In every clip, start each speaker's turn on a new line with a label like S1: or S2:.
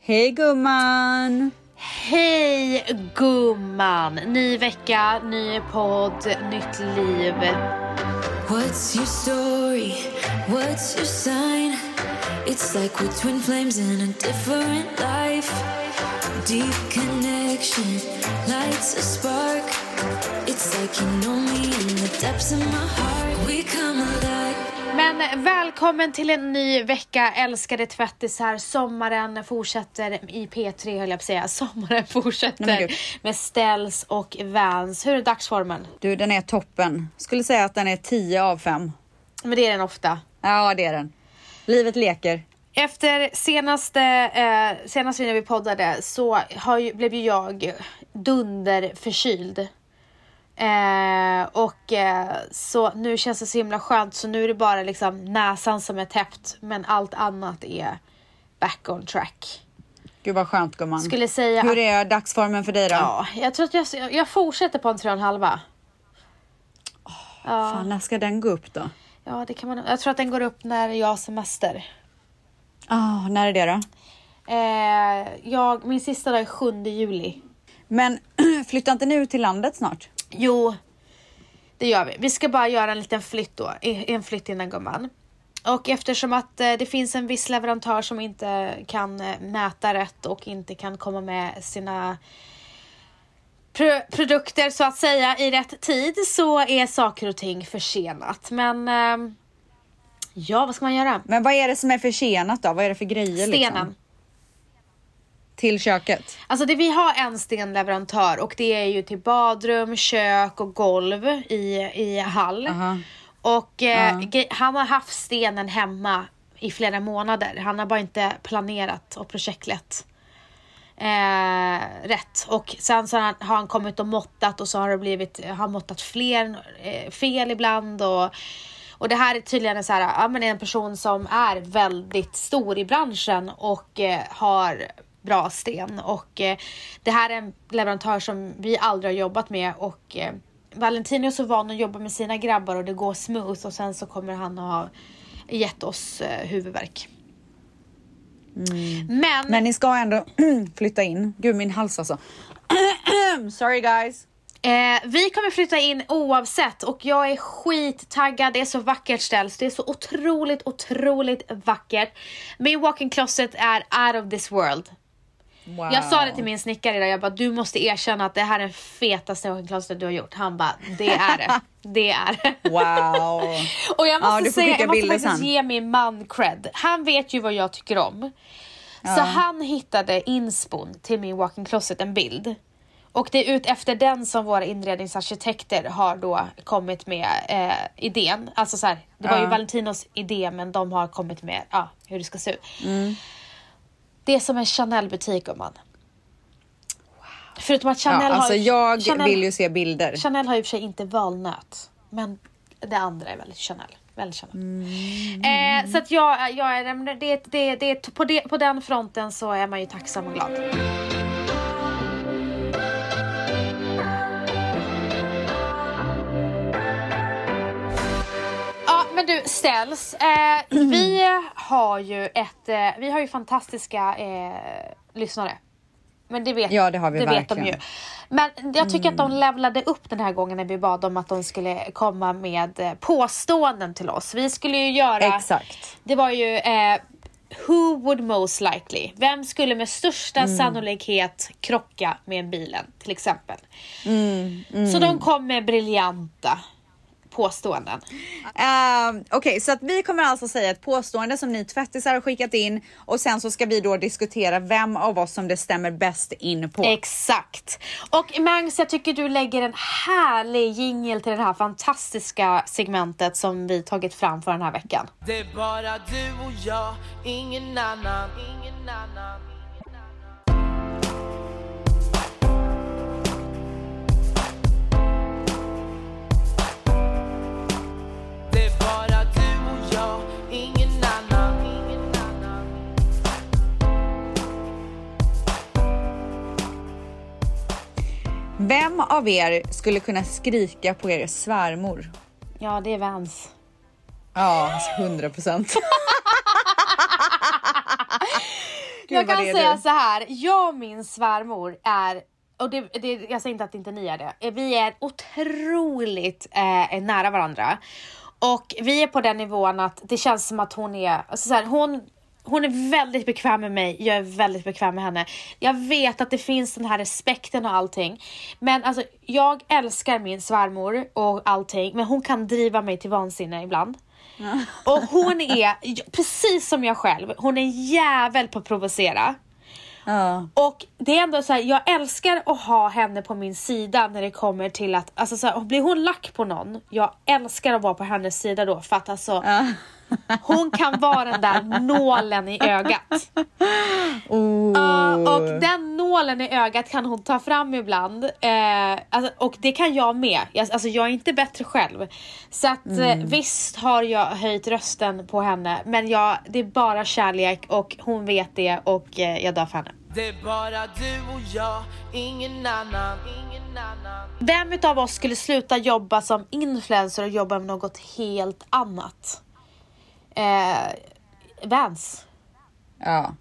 S1: Hej gumman!
S2: Hej gumman! Ny vecka, ny podd, nytt liv.
S3: What's your story? What's your sign? It's like we're twin flames in a different life. Deep connection lights a spark. It's like you know me in the depths of my heart. We come alive.
S2: Men välkommen till en ny vecka älskade tvättisar. Sommaren fortsätter i P3 höll jag på att säga. Sommaren fortsätter
S1: Nej, men gud.
S2: med Stells och Vans. Hur är dagsformen?
S1: Du, den är toppen. Skulle säga att den är 10 av 5.
S2: Men det är den ofta.
S1: Ja, det är den. Livet leker.
S2: Efter senaste, eh, senaste när vi poddade så har ju, blev ju jag dunderförkyld. Eh, och eh, så nu känns det så himla skönt så nu är det bara liksom näsan som är täppt men allt annat är back on track.
S1: Gud vad skönt gumman.
S2: Skulle säga
S1: Hur
S2: att,
S1: är dagsformen för dig då?
S2: ja, jag tror att jag, jag fortsätter på en tre och en halva. ja,
S1: Fan, när ska den gå upp då?
S2: ja, det kan man, jag tror att den går upp när jag har semester.
S1: Ah, när är det då?
S2: Eh, jag, min sista dag är 7 juli.
S1: Men flyttar inte ni ut till landet snart?
S2: Jo, det gör vi. Vi ska bara göra en liten flytt då. i- En flytt innan gumman. Och eftersom att eh, det finns en viss leverantör som inte kan eh, mäta rätt och inte kan komma med sina pro produkter så att säga i rätt tid så är saker och ting försenat. Men ehm, ja, vad ska man göra?
S1: Men vad är det som är försenat då? Vad är det för grejer?
S2: Stenen.
S1: Liksom? Till köket?
S2: Alltså det, vi har en stenleverantör och det är ju till badrum, kök och golv i, i hall.
S1: Aha.
S2: Och eh,
S1: Ja.
S2: gre- han har haft stenen hemma i flera månader. Han har bara inte planerat och projektlett eh, rätt. Och sen så har han, har han kommit och måttat och så har det blivit, har han måttat fler eh, fel ibland och och det här är tydligen en, så här, ja, men en person som är väldigt stor i branschen och eh, har bra sten och eh, det här är en leverantör som vi aldrig har jobbat med och eh, Valentino är så van att jobba med sina grabbar och det går smooth och sen så kommer han ha gett oss eh, huvudvärk. Men,
S1: Men ni ska ändå flytta in. Gud, min hals alltså. Sorry guys.
S2: Eh, vi kommer flytta in oavsett och jag är skittaggad. Det är så vackert ställs. Det är så otroligt, otroligt vackert. Min walk-in closet är out of this world.
S1: Wow.
S2: Jag sa det till min snickare idag. Jag bara, du måste erkänna att det här är den fetaste walk-in closetet du har gjort. Han bara, det är det. Det är det.
S1: Wow.
S2: Och jag måste
S1: Ja, du får
S2: säga,
S1: skicka
S2: jag måste
S1: bilder
S2: faktiskt
S1: sen.
S2: ge min man cred. Han vet ju vad jag tycker om. Så han hittade inspon till min walk-in closet, en bild. Och det är ut efter den som våra inredningsarkitekter har då kommit med eh, idén. Alltså så här, det var ju
S1: Ja.
S2: Valentinos idé men de har kommit med ja, hur det ska se ut. Det är som en Chanel-butik gumman. Förutom att Chanel
S1: Ja, alltså
S2: har
S1: jag
S2: Chanel,
S1: vill ju se bilder.
S2: Chanel har i och för sig inte valnöt, men det andra är väldigt Chanel. Väldigt Chanel.
S1: Mm.
S2: Eh, så att jag, jag är, men det, det, det, på, det, på den fronten så är man ju tacksam och glad. Ja men du Ställs, eh, vi har ju ett, eh, vi har ju fantastiska eh, lyssnare. Men det vet,
S1: Ja, det har vi
S2: vet de
S1: verkligen.
S2: ju. Men jag tycker att de levlade upp den här gången när vi bad om att de skulle komma med eh, påståenden till oss. Vi skulle ju göra...
S1: Exakt.
S2: Det var ju eh, Who would most likely? Vem skulle med största sannolikhet krocka med en bilen till exempel? Så de kom med briljanta påståenden.
S1: Ehm, Okej, så att vi kommer alltså säga ett påstående som ni tvättisar har skickat in och sen så ska vi då diskutera vem av oss som det stämmer bäst in på.
S2: Exakt. Och Mangs, jag tycker du lägger en härlig jingel till det här fantastiska segmentet som vi tagit fram för den här veckan.
S4: Det är bara du och jag, ingen annan, ingen annan. Det är bara du och jag, ingen annan, ingen annan.
S1: Vem av er skulle kunna skrika på er svärmor?
S2: Ja, det är Vans.
S1: Ja, alltså 100 procent. Gud,
S2: jag
S1: vad
S2: kan
S1: det är
S2: säga
S1: du.
S2: så här. jag och min svärmor är, och det, det, jag säger inte att inte ni är det, Eh, vi är otroligt eh, nära varandra. Och vi är på den nivån att det känns som att hon är, alltså så här, hon, hon är väldigt bekväm med mig, jag är väldigt bekväm med henne. Jag vet att det finns den här respekten och allting. Men alltså jag älskar min svärmor och allting, men hon kan driva mig till vansinne ibland. Och hon är, precis som jag själv, hon är en jävel på att provocera.
S1: Ja.
S2: Och det är ändå så här, jag älskar att ha henne på min sida när det kommer till att, alltså så här, blir hon lack på någon, jag älskar att vara på hennes sida då för att alltså hon kan vara den där nålen i ögat. Ja, och den nålen i ögat kan hon ta fram ibland. Eh, alltså, och det kan jag med. Jag, alltså, jag är inte bättre själv. Så att eh, visst har jag höjt rösten på henne. Men jag, det är bara kärlek och hon vet det och eh, jag dör för henne.
S4: Det är bara du och jag, ingen annan, ingen annan.
S2: Vem utav oss skulle sluta jobba som influencer och jobba med något helt annat? Eh, Vans.
S1: Ja.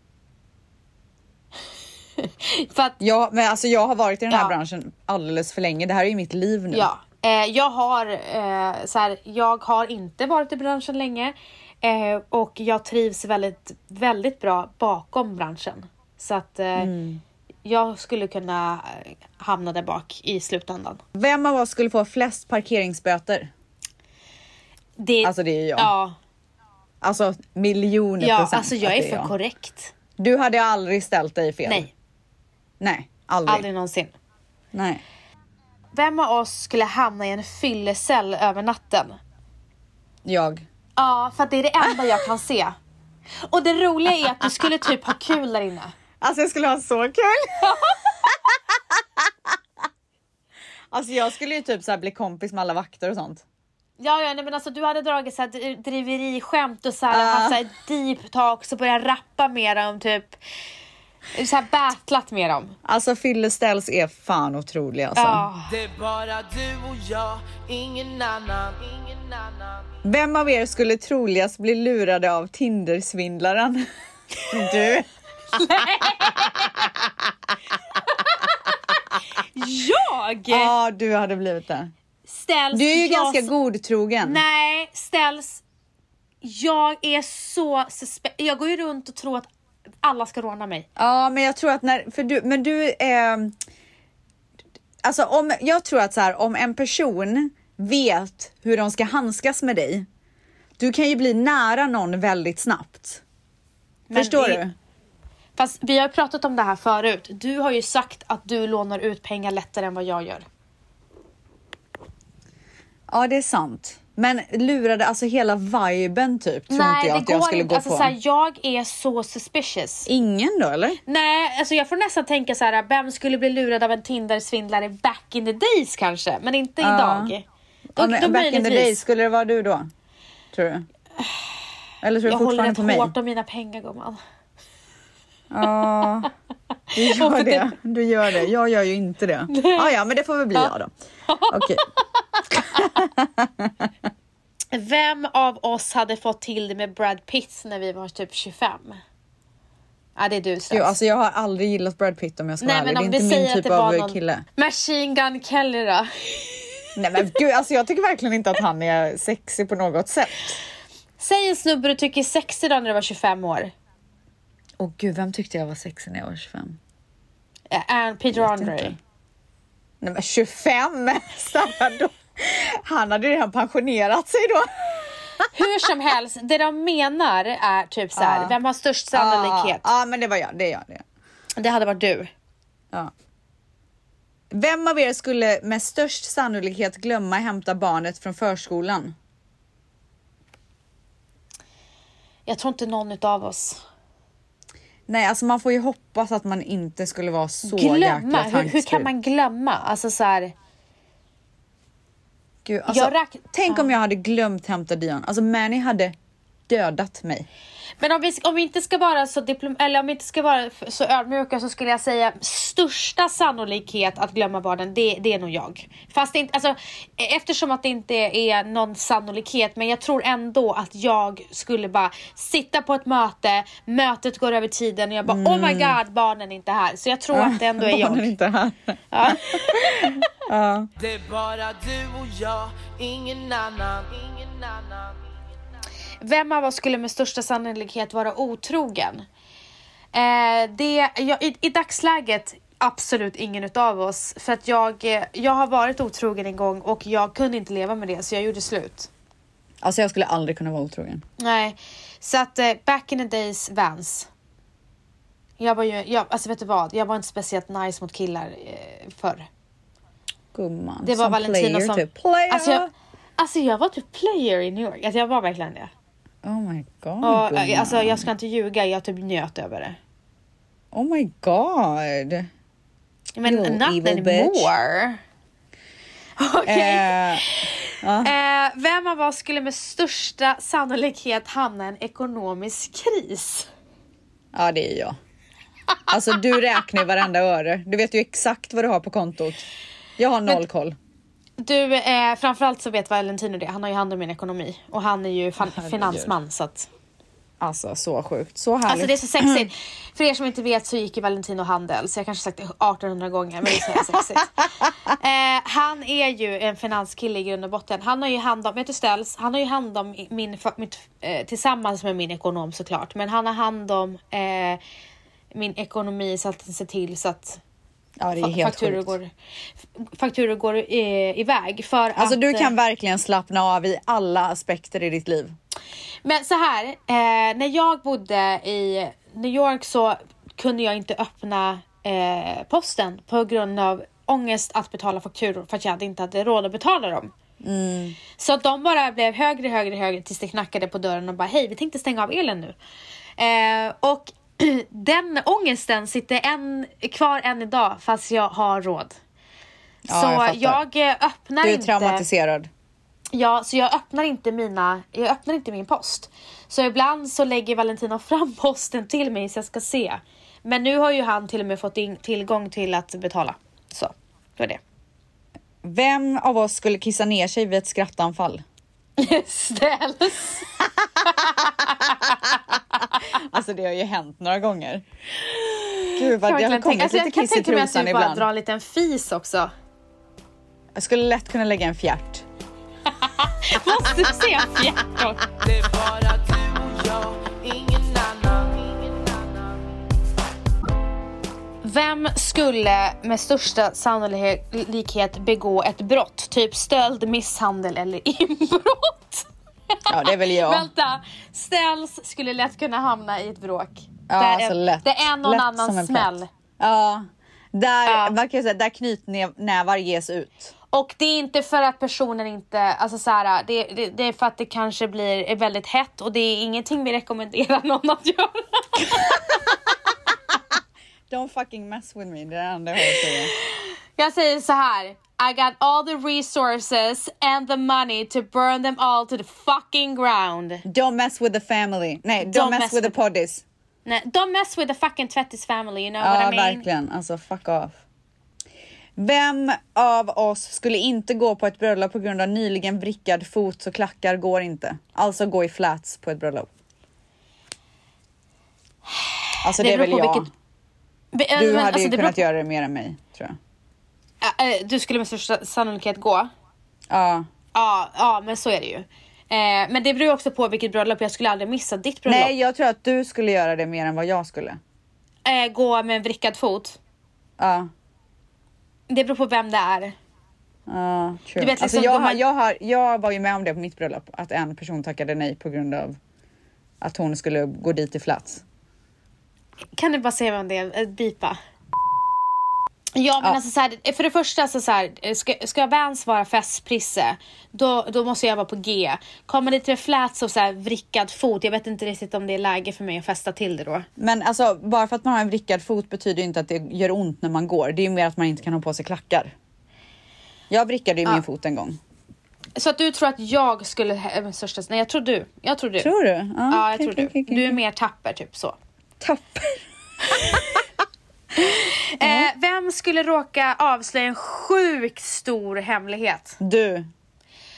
S2: För att
S1: ja, men alltså jag har varit i den här
S2: Ja.
S1: branschen alldeles för länge. Det här är ju mitt liv nu.
S2: Ja, eh, jag, har, eh, så här, jag har inte varit i branschen länge eh, och jag trivs väldigt, väldigt bra bakom branschen. Så att eh,
S1: Mm.
S2: jag skulle kunna eh, hamna där bak i slutändan.
S1: Vem av oss skulle få flest parkeringsböter?
S2: Det,
S1: Alltså, det är jag.
S2: Ja,
S1: Alltså miljoner
S2: ja
S1: procent.
S2: alltså jag
S1: att
S2: är
S1: det
S2: för korrekt.
S1: Du hade aldrig ställt dig fel?
S2: Nej,
S1: Nej, aldrig.
S2: aldrig någonsin.
S1: Nej.
S2: Vem av oss skulle hamna i en fyllecell över natten?
S1: Jag.
S2: Ja, för att det är det enda jag kan se. Och det roliga är att du skulle typ ha kul där inne.
S1: Alltså jag skulle ha så kul. alltså jag skulle ju typ så här bli kompis med alla vakter och sånt.
S2: Ja, ja nej, men alltså du hade dragit så här dri- driveriskämt och så här,
S1: Ja.
S2: massa deep talks och börjat rappa med dem typ. Så här battlat med dem.
S1: Alltså fylleställs är fan otroliga alltså.
S2: Ja.
S4: Det är bara du och jag, ingen annan, ingen annan.
S1: Vem av er skulle troligast bli lurade av Tindersvindlaren? du.
S2: Jag
S1: Ja, du hade blivit det.
S2: ställs...
S1: Du är ju
S2: jag
S1: ganska
S2: s-
S1: godtrogen.
S2: Nej, ställs... Jag är så suspe- Jag går ju runt och tror att alla ska råna mig.
S1: Ja, men jag tror att när, för du, men du, ehm, alltså om, jag tror att så här, om en person vet hur de ska handskas med dig, du kan ju bli nära någon väldigt snabbt.
S2: Men
S1: Förstår
S2: det-
S1: du?
S2: Fast vi har ju pratat om det här förut. Du har ju sagt att du lånar ut pengar lättare än vad jag gör.
S1: Ja, det är sant. Men lurade, alltså hela viben typ, tror inte jag att jag skulle gå
S2: Alltså,
S1: på.
S2: så här, jag är så suspicious.
S1: Ingen då eller?
S2: Nej, alltså jag får nästan tänka så här, vem skulle bli lurad av en Tinder-svindlare back in the days kanske, men inte idag. Då,
S1: Ja, men
S2: då
S1: back in the day,
S2: möjligtvis.
S1: skulle det vara du då? Tror du? Eller tror du
S2: Jag håller
S1: fortfarande
S2: rätt
S1: på mig?
S2: hårt om mina pengar gumman.
S1: Ja, du gör det. Du gör det. Jag gör ju inte det. Ah, ja, men det får väl bli jag då. Okej.
S2: Vem av oss hade fått till det med Brad Pitt när vi var typ 25? Ja, det är du
S1: Gud,
S2: strax.
S1: Alltså, jag har aldrig gillat Brad Pitt om jag ska vara ärlig. Det är inte min typ av kille.
S2: Machine Gun Kelly då?
S1: Nej, men gud, alltså, jag tycker verkligen inte att han är sexig på något sätt.
S2: Säg en snubbe du tycker är sexig då när du var 25 år.
S1: Åh gud, vem tyckte jag var sexig när jag var 25?
S2: Eh, And Peter Andre.
S1: inte. Nej men 25! Stanna då. Han hade ju redan pensionerat sig då.
S2: Hur som helst, det de menar är typ så här,
S1: Ja.
S2: vem har störst sannolikhet?
S1: Ja, ja, men det var jag. Det är jag. Det är jag.
S2: Det hade varit du.
S1: Ja. Vem av er skulle med störst sannolikhet glömma hämta barnet från förskolan?
S2: Jag tror inte någon utav oss.
S1: Nej, alltså man får ju hoppas att man inte skulle vara så
S2: glömma?
S1: jäkla
S2: Hur, hur
S1: tankspridd.
S2: kan man glömma? Alltså så här,
S1: Gud, alltså,
S2: Jag räk-
S1: Tänk om jag hade glömt hämta Dion. Alltså Manny hade Alltså, dödat mig.
S2: Men om vi, om vi inte ska vara så diplom, eller om vi inte ska vara f- så ödmjuka så skulle jag säga största sannolikhet att glömma barnen, det, det är nog jag. Fast det inte, alltså, e- eftersom att det inte är någon sannolikhet, men jag tror ändå att jag skulle bara sitta på ett möte, mötet går över tiden och jag bara oh my god, barnen är inte här. Så jag tror att det ändå är
S1: Mm. Barnen
S2: jag.
S1: inte här.
S2: Ja.
S1: Ja.
S4: Det är bara du och jag, ingen annan, ingen annan.
S2: Vem av oss skulle med största sannolikhet vara otrogen? Eh, det, jag, i, I dagsläget absolut ingen utav oss. För att jag, eh, jag har varit otrogen en gång och jag kunde inte leva med det så jag gjorde slut.
S1: Alltså jag skulle aldrig kunna vara otrogen.
S2: Nej, så att eh, back in the days Vans. Jag var ju, jag, alltså vet du vad, jag var inte speciellt nice mot killar eh, förr.
S1: Gumman.
S2: Det var
S1: som
S2: Valentina
S1: player,
S2: som...
S1: Typ. Player!
S2: Alltså jag, alltså jag var typ player i New York, alltså jag var verkligen det.
S1: Oh my god
S2: Och,
S1: gumman.
S2: eh, alltså jag ska inte ljuga, jag typ njöt över det.
S1: Oh my god.
S2: Men
S1: You
S2: not
S1: evil
S2: anymore. Okej.
S1: Eh,
S2: Eh, vem av oss skulle med största sannolikhet hamna i en ekonomisk kris?
S1: ja det är jag. Alltså du räknar ju varenda öre. Du vet ju exakt vad du har på kontot. Jag har noll koll.
S2: Du, eh, framförallt så vet Valentino det. Han har ju hand om min ekonomi och han är ju fan-
S1: Herregud.
S2: finansman så att.
S1: Alltså så sjukt. Så härligt. Mm.
S2: Alltså det är så sexigt. För er som inte vet så gick ju Valentino handel, så jag kanske sagt det 1800 gånger, men det är så jävla sexigt. Eh, han är ju en finanskille i grund och botten. Han har ju hand om, vet du Ställs, han har ju hand om i- min, fa- mitt, eh, tillsammans med min ekonom såklart, men han har hand om eh, min ekonomi så att han ser till så att
S1: ja, det är
S2: fa-
S1: helt
S2: fakturor,
S1: sjukt.
S2: går, f- fakturor går eh, iväg. För
S1: Alltså
S2: att,
S1: du
S2: eh,
S1: kan verkligen slappna av i alla aspekter i ditt liv.
S2: Men så här, eh, när jag bodde i New York så kunde jag inte öppna eh, posten på grund av ångest att betala fakturor för att jag hade inte hade råd att betala dem.
S1: Mm.
S2: Så att de bara blev högre, högre, högre tills det knackade på dörren och bara hej, vi tänkte stänga av elen nu. Eh, och den ångesten sitter än, kvar än idag fast jag har råd.
S1: Ja, jag
S2: så
S1: fattar.
S2: jag, eh, öppnar
S1: Du är
S2: inte...
S1: traumatiserad.
S2: Ja, så jag öppnar inte mina, jag öppnar inte min post. Så ibland så lägger Valentino fram posten till mig så jag ska se. Men nu har ju han till och med fått in, tillgång till att betala. Så, det var det.
S1: Vem av oss skulle kissa ner sig vid ett skrattanfall?
S2: Ställs.
S1: Alltså det har ju hänt några gånger. Gud
S2: Jag
S1: vad det har
S2: verkligen
S1: kommit
S2: tänka- alltså,
S1: lite
S2: jag kan
S1: kiss i
S2: tänka mig att du
S1: trosan
S2: bara
S1: ibland.
S2: drar en liten fis också.
S1: Jag skulle lätt kunna lägga en fjärt.
S2: Måste du se fjärtor?
S4: Det är bara du och jag, ingen annan, ingen annan.
S2: Vem skulle med största sannolikhet begå ett brott? Typ stöld, misshandel eller inbrott?
S1: Ja det är väl jag.
S2: Vänta, Ställs skulle lätt kunna hamna i ett bråk.
S1: ja,
S2: där,
S1: alltså,
S2: är,
S1: lätt.
S2: där är någon
S1: lätt som
S2: annan
S1: en
S2: smäll.
S1: plätt. Ja. Där,
S2: Ja.
S1: Man kan ju säga, där knytnävar ges ut.
S2: Och det är inte för att personen inte, alltså så här, det, det, det är för att det kanske blir är väldigt hett och det är ingenting vi rekommenderar någon att göra.
S1: Don't fucking mess with me, det är det enda jag har att säga.
S2: Jag säger så här. I got all the resources and the money to burn them all to the fucking ground.
S1: Don't mess with the family. Nej, don't, mess, with the poddies.
S2: Nej, don't mess with the fucking tvättis family, you know
S1: Ja,
S2: what I mean?
S1: verkligen. Alltså fuck off. Vem av oss skulle inte gå på ett bröllop på grund av nyligen vrickad fot så klackar går inte? Alltså gå i flats på ett bröllop. Alltså det, är väl jag.
S2: Vilket...
S1: Du
S2: Men,
S1: hade
S2: alltså,
S1: ju
S2: det
S1: kunnat
S2: beror
S1: göra det mer än mig tror jag.
S2: på- Ä- ä, Du skulle med största sannolikhet gå.
S1: Ja.
S2: Ja, ja men så är det ju. Eh, men det beror ju också på vilket bröllop. Jag skulle aldrig missa ditt bröllop.
S1: Nej, jag tror att du skulle göra det mer än vad jag skulle.
S2: Eh, gå med en vrickad fot.
S1: Ja.
S2: Det beror på vem det är.
S1: Ja, true.
S2: Du vet,
S1: alltså,
S2: liksom,
S1: jag,
S2: de
S1: har,
S2: har-
S1: jag, har, jag var ju med om det på mitt bröllop, att en person tackade nej på grund av att hon skulle gå dit i flats.
S2: Kan du bara säga vem det är? Eh, Bipa. Ja men
S1: Ja.
S2: alltså så här, för det första så, så här, eh, ska, ska Vans vara festprisse då, då måste jag vara på G. Kommer det till flats och så här vrickad fot, jag vet inte riktigt om det är läge för mig att festa till det då.
S1: Men alltså, bara för att man har en vrickad fot betyder ju inte att det gör ont när man går. Det är ju mer att man inte kan ha på sig klackar. Jag vrickade ju min fot en gång.
S2: Så att du tror att jag skulle ha den största... Nej, jag tror du. Jag tror du.
S1: Tror du?
S2: Ja, jag
S1: okej,
S2: tror
S1: okej,
S2: du.
S1: okej, okej.
S2: Du är mer tapper, typ så.
S1: Tapper.
S2: Eh, vem skulle råka avslöja en sjukt stor hemlighet?
S1: Du.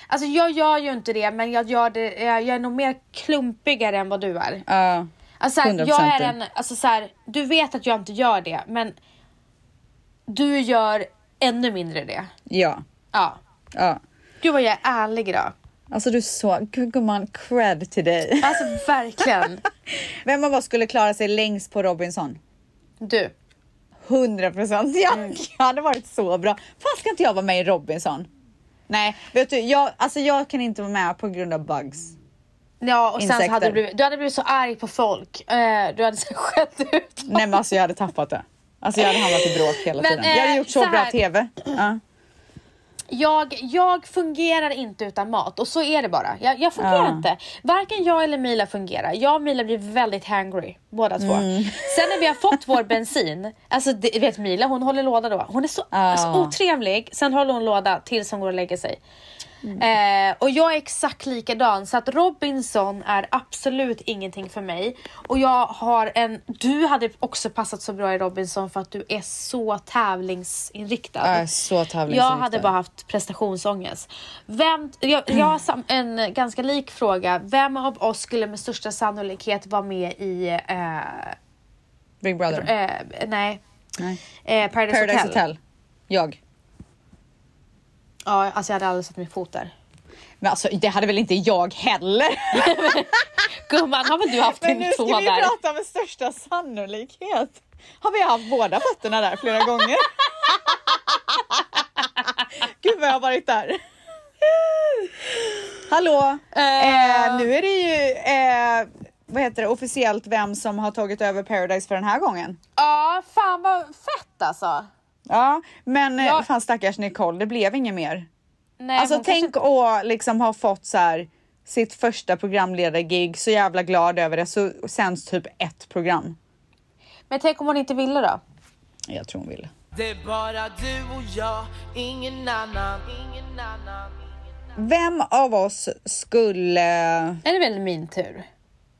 S2: Alltså jag gör ju inte det, men jag, gör det, eh, jag jag är nog mer klumpigare än vad du är.
S1: Ja.
S2: Alltså, så här, jag
S1: 100%
S2: är en, alltså så här, du vet att jag inte gör det, men du gör ännu mindre det.
S1: ja.
S2: Ja.
S1: Ja.
S2: Gud vad jag är ärlig idag.
S1: Alltså du är så... Gud gumman, cred till dig.
S2: Alltså verkligen.
S1: Vem av oss skulle klara sig längst på Robinson?
S2: Du.
S1: 100 procent. Jag
S2: Mm.
S1: jag hade varit så bra. Fan ska inte jag vara med i Robinson? Nej, vet du, jag, alltså jag kan inte vara med på grund av bugs.
S2: Ja, och sen så hade
S1: Insekter.
S2: du, blivit, du hade blivit så arg på folk. Eh, du hade så här skällt ut dem.
S1: Nej men alltså jag hade tappat det. Alltså jag hade hamnat i bråk hela
S2: Men,
S1: tiden. Jag hade
S2: eh,
S1: gjort
S2: så
S1: så,
S2: här.
S1: bra TV. Ja.
S2: Jag, jag fungerar inte utan mat och så är det bara. Jag, jag fungerar
S1: Ja.
S2: inte. Varken jag eller Mila fungerar. Jag och Mila blir väldigt hangry båda två. Sen när vi har fått vår bensin, alltså det, vet Mila hon håller låda då. Hon är så alltså, otrevlig, sen håller hon låda tills hon går och lägger sig. Eh, och jag är exakt likadan så att Robinson är absolut ingenting för mig. Och jag har en, du hade också passat så bra i Robinson för att du är så tävlingsinriktad.
S1: Jag är så tävlingsinriktad.
S2: Jag hade bara haft prestationsångest. Vem, jag, jag har sam, en ganska lik fråga. Vem av oss skulle med största sannolikhet vara med i... Eh,
S1: Big Brother.
S2: eh, nej.
S1: Nej.
S2: Eh, Paradise,
S1: Paradise Hotel.
S2: Hotel.
S1: Jag.
S2: Ja, alltså jag hade aldrig satt min fot där.
S1: Men alltså det hade väl inte jag heller.
S2: Gumman, har väl du haft
S1: Men
S2: din
S1: nu ska
S2: tå
S1: vi
S2: där?
S1: prata med största sannolikhet. Har vi haft båda fötterna där flera gånger? Gud vad jag har varit där. Hallå! Eh, nu är det ju eh, vad heter det, officiellt vem som har tagit över Paradise för den här gången.
S2: Ja, fan vad fett alltså.
S1: Ja, men eh,
S2: Ja.
S1: fan stackars Nicole, det blev inget mer.
S2: Nej,
S1: Alltså
S2: Äh, hon kanske-
S1: tänk att liksom ha fått så här sitt första programledargig, så jävla glad över det, så sänds typ ett program.
S2: Men tänk om hon inte ville då?
S1: Jag tror hon ville.
S4: Det är bara du och jag, ingen annan, ingen annan.
S1: Vem av oss skulle...
S2: Är det väl min tur?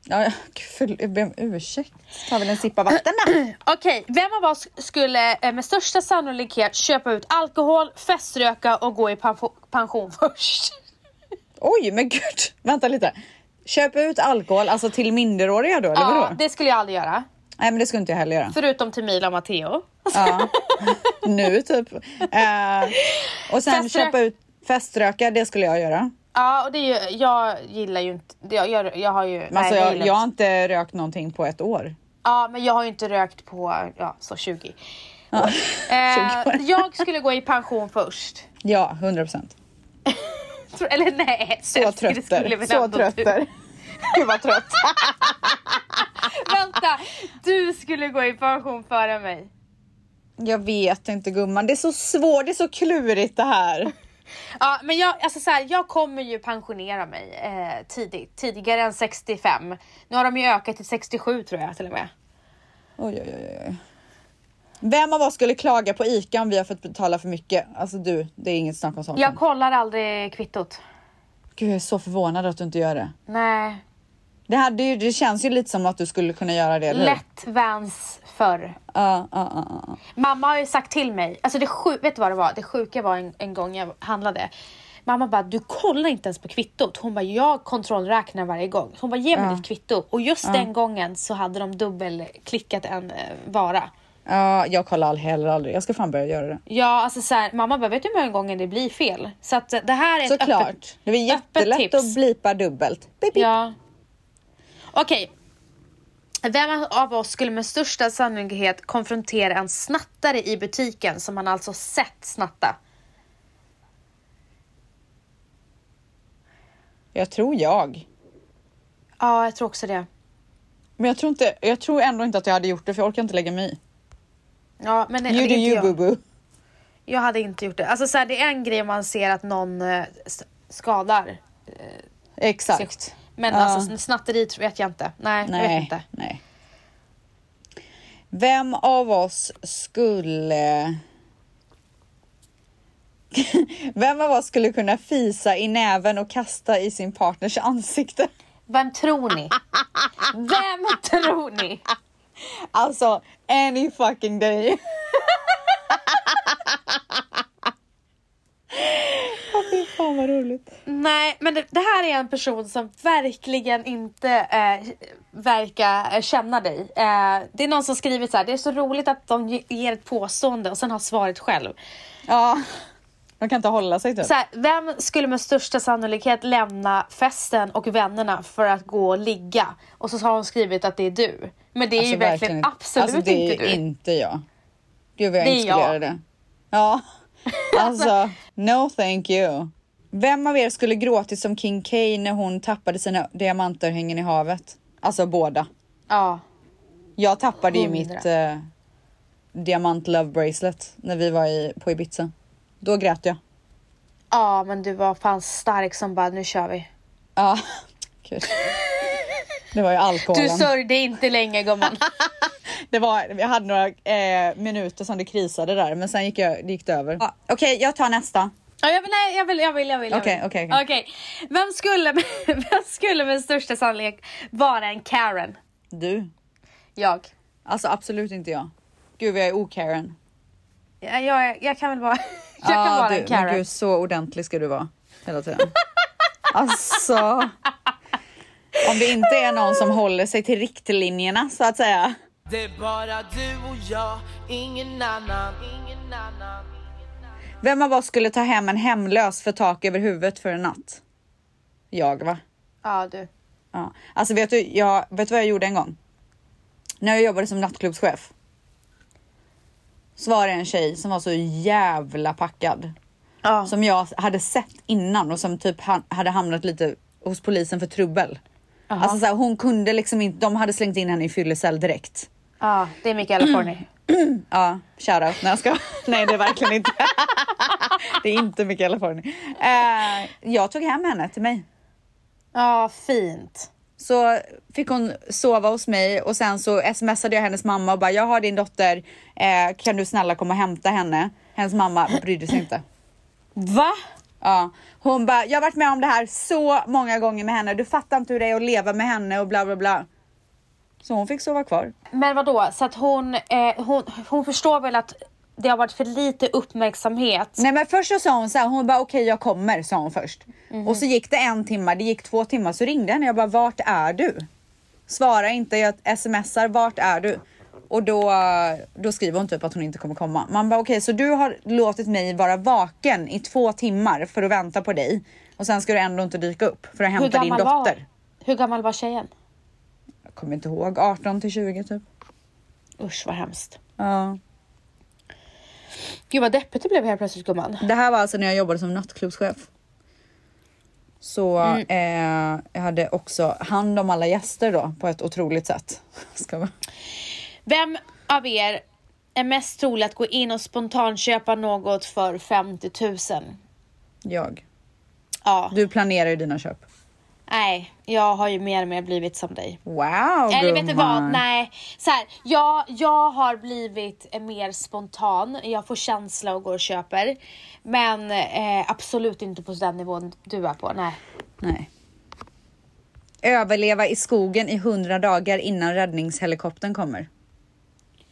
S1: Ja, gud, förl- jag ber om ursäkt. Ta väl en sipp av vatten då.
S2: Okej, vem av oss skulle eh, med största sannolikhet köpa ut alkohol, feströka och gå i pension, pension först?
S1: Oj, men gud. Vänta lite. Köpa ut alkohol, alltså till minderåriga då? Eller
S2: Ja,
S1: vadå?
S2: det skulle jag aldrig göra.
S1: Nej, men det skulle inte jag heller göra.
S2: Förutom till Mila och Matteo.
S1: Ja. nu typ. Eh, och sen
S2: Feströ-
S1: köpa ut feströka, det skulle jag göra.
S2: Ja, och det är ju, jag gillar ju inte... Jag, jag, jag har ju...
S1: Men alltså,
S2: jag,
S1: jag,
S2: gillar
S1: jag har
S2: inte.
S1: inte rökt någonting på ett år.
S2: Ja, men jag har ju inte rökt på ja, så 20. Eh,
S1: 20 år.
S2: jag skulle gå i pension först.
S1: Ja, 100 procent.
S2: Tror- Eller nej,
S1: Så
S2: det
S1: trött
S2: skulle
S1: där.
S2: väl
S1: Så
S2: ändå
S1: trött
S2: du-
S1: där. Gud vad trött.
S2: Vänta, du skulle gå i pension före mig.
S1: Jag vet inte gumman, det är så svårt, det är så klurigt det här.
S2: Ja, men jag, alltså så här, jag kommer ju pensionera mig eh, tidigt, tidigare än 65. Nu har de ju ökat till 67 tror jag till och med.
S1: Oj, oj, oj, oj. Vem av oss skulle klaga på ICA om vi har fått betala för mycket? Alltså du, det är inget snack om saken.
S2: Jag kollar aldrig kvittot.
S1: Gud, jag är så förvånad att du inte gör det.
S2: Nej,
S1: Det, hade ju, det känns ju lite som att du skulle kunna göra det, eller hur?
S2: lätt Vans förr.
S1: Ja, ja, ja, ja.
S2: Mamma har ju sagt till mig, alltså det sju, vet du vad det var? Det sjuka var en, en gång jag handlade. Mamma bara, du kollar inte ens på kvittot. Hon bara, jag kontrollräknar varje gång. Hon bara, ge mig ditt kvitto. Och just den gången så hade de dubbelklickat en eh, vara.
S1: Ja, jag kollar all- heller aldrig. Jag ska fan börja göra det.
S2: Ja, alltså så här, mamma bara, vet du hur många gånger det blir fel? Så att eh, det här är ett
S1: Såklart.
S2: öppet,
S1: det är jättelätt
S2: öppet
S1: att
S2: tips.
S1: blipa dubbelt. Beep, beep.
S2: Ja. Okej. Vem av oss skulle med största sannolikhet konfrontera en snattare i butiken som han alltså sett snatta?
S1: Jag tror jag.
S2: Ja, jag tror också det.
S1: Men jag tror, inte, jag tror ändå inte att jag hade gjort det för jag orkar inte lägga mig i.
S2: Ja, men det,
S1: You
S2: det
S1: do
S2: är
S1: you,
S2: inte jag.
S1: boo-boo.
S2: jag hade inte gjort det. Alltså så här, det är en grej man ser att någon eh, s- skadar.
S1: Exakt.
S2: Men
S1: Ja.
S2: alltså snatteri tror- vet jag inte. Nej, jag vet
S1: Nej,
S2: inte.
S1: nej. Vem av oss skulle... Vem av oss skulle kunna fisa i näven och kasta i sin partners ansikte?
S2: Vem tror ni? Vem tror ni?
S1: Alltså, any fucking day. Åh, Fy fan vad roligt.
S2: Nej, men det, det här är en person som verkligen inte eh, verkar eh, känna dig. Eh, det är någon som skrivit så här, det är så roligt att de ge- ger ett påstående och sen har svaret själv.
S1: Ja, de kan inte hålla sig typ.
S2: Så här, vem skulle med största sannolikhet lämna festen och vännerna för att gå och ligga? Och så har hon skrivit att det är du. Men det är ju
S1: Alltså,
S2: verkligen, absolut
S1: alltså, det
S2: inte du.
S1: är inte jag. Gud vad jag
S2: Det är
S1: inte skulle
S2: jag.
S1: göra det. Ja, alltså no thank you. Vem av er skulle gråtit som King K när hon tappade sina diamantörhängen i havet? Alltså båda.
S2: Ja.
S1: Jag tappade ju
S2: Hundra.
S1: mitt eh, diamant love bracelet när vi var i, på Ibiza. Då grät jag.
S2: ja, men du var fan stark som bara, nu kör vi.
S1: Ja, gud. Det var ju
S2: Du
S1: alkoholen.
S2: sörjde inte länge gumman.
S1: Det var, jag hade några eh, minuter som det krisade där, men sen gick, jag, det gick det över. Ja, Okej, jag tar nästa.
S2: Ja, jag vill, nej, jag vill, jag vill, jag vill. jag
S1: Okej,
S2: vill.
S1: okej, okej.
S2: Okej. Vem, skulle, vem skulle med största sannolikhet vara en Karen?
S1: Du.
S2: Jag.
S1: Alltså absolut inte jag. Gud, jag är okaren.
S2: Jag, jag, jag kan väl vara, jag kan vara en
S1: Men
S2: Karen.
S1: gud, så ordentlig ska du vara hela tiden. alltså. Om det inte är någon som håller sig till riktlinjerna så att säga.
S4: Det är bara du och jag, ingen annan, ingen annan.
S1: Vem av oss skulle ta hem en hemlös för tak över huvudet för en natt? Jag va?
S2: Ja, du.
S1: Ja. Alltså vet du, jag, vet du vad jag gjorde en gång? När jag jobbade som nattklubbschef. Så var det en tjej som var så jävla packad.
S2: Ja.
S1: Som jag hade sett innan och som typ ha, hade hamnat lite hos polisen för trubbel. Alltså så här, hon kunde liksom inte, de hade slängt in henne i fyllecell direkt.
S2: ja, det är Mikaela Forni.
S1: Ja, shoutout. Nej jag ska. Nej det är verkligen inte. det är inte Mikaela Forni. Eh, jag tog hem henne till mig.
S2: Ja, fint.
S1: Så fick hon sova hos mig och sen så smsade jag hennes mamma och bara jag har din dotter, eh, kan du snälla komma och hämta henne? Hennes mamma brydde sig inte.
S2: Va?
S1: Ja, hon bara, jag har varit med om det här så många gånger med henne. Du fattar inte hur det är att leva med henne och bla bla bla. Så hon fick sova kvar.
S2: Men vad då? så att hon, eh, hon, hon förstår väl att det har varit för lite uppmärksamhet?
S1: Nej men först så sa hon så här, hon bara okej jag kommer sa hon först. Och så gick det en timme, det gick två timmar så ringde jag henne jag bara vart är du? Svara inte, jag smsar vart är du? Och då, då skriver hon typ att hon inte kommer komma. Man bara okej så du har låtit mig vara vaken i två timmar för att vänta på dig och sen ska du ändå inte dyka upp för att hämta din dotter.
S2: var, hur gammal var tjejen?
S1: Jag kommer inte ihåg, 18 till 20 typ.
S2: Usch vad hemskt.
S1: Ja.
S2: Gud vad deppigt det blev helt plötsligt gumman.
S1: Det här var alltså när jag jobbade som nattklubbschef. Så
S2: Mm.
S1: eh, jag hade också hand om alla gäster då på ett otroligt sätt. Ska man...
S2: Vem av er är mest trolig att gå in och spontanköpa något för 50 000?
S1: Jag.
S2: Ja.
S1: Du planerar ju dina köp.
S2: Nej, jag har ju mer och mer blivit som dig.
S1: Wow
S2: Eller vet du vad?
S1: gumman.
S2: Nej. Så här, jag, jag har blivit eh, mer spontan. Jag får känsla och går och köper. Men eh, absolut inte på den nivån du är på. Nej.
S1: Nej. Överleva i skogen i hundra dagar innan räddningshelikoptern kommer.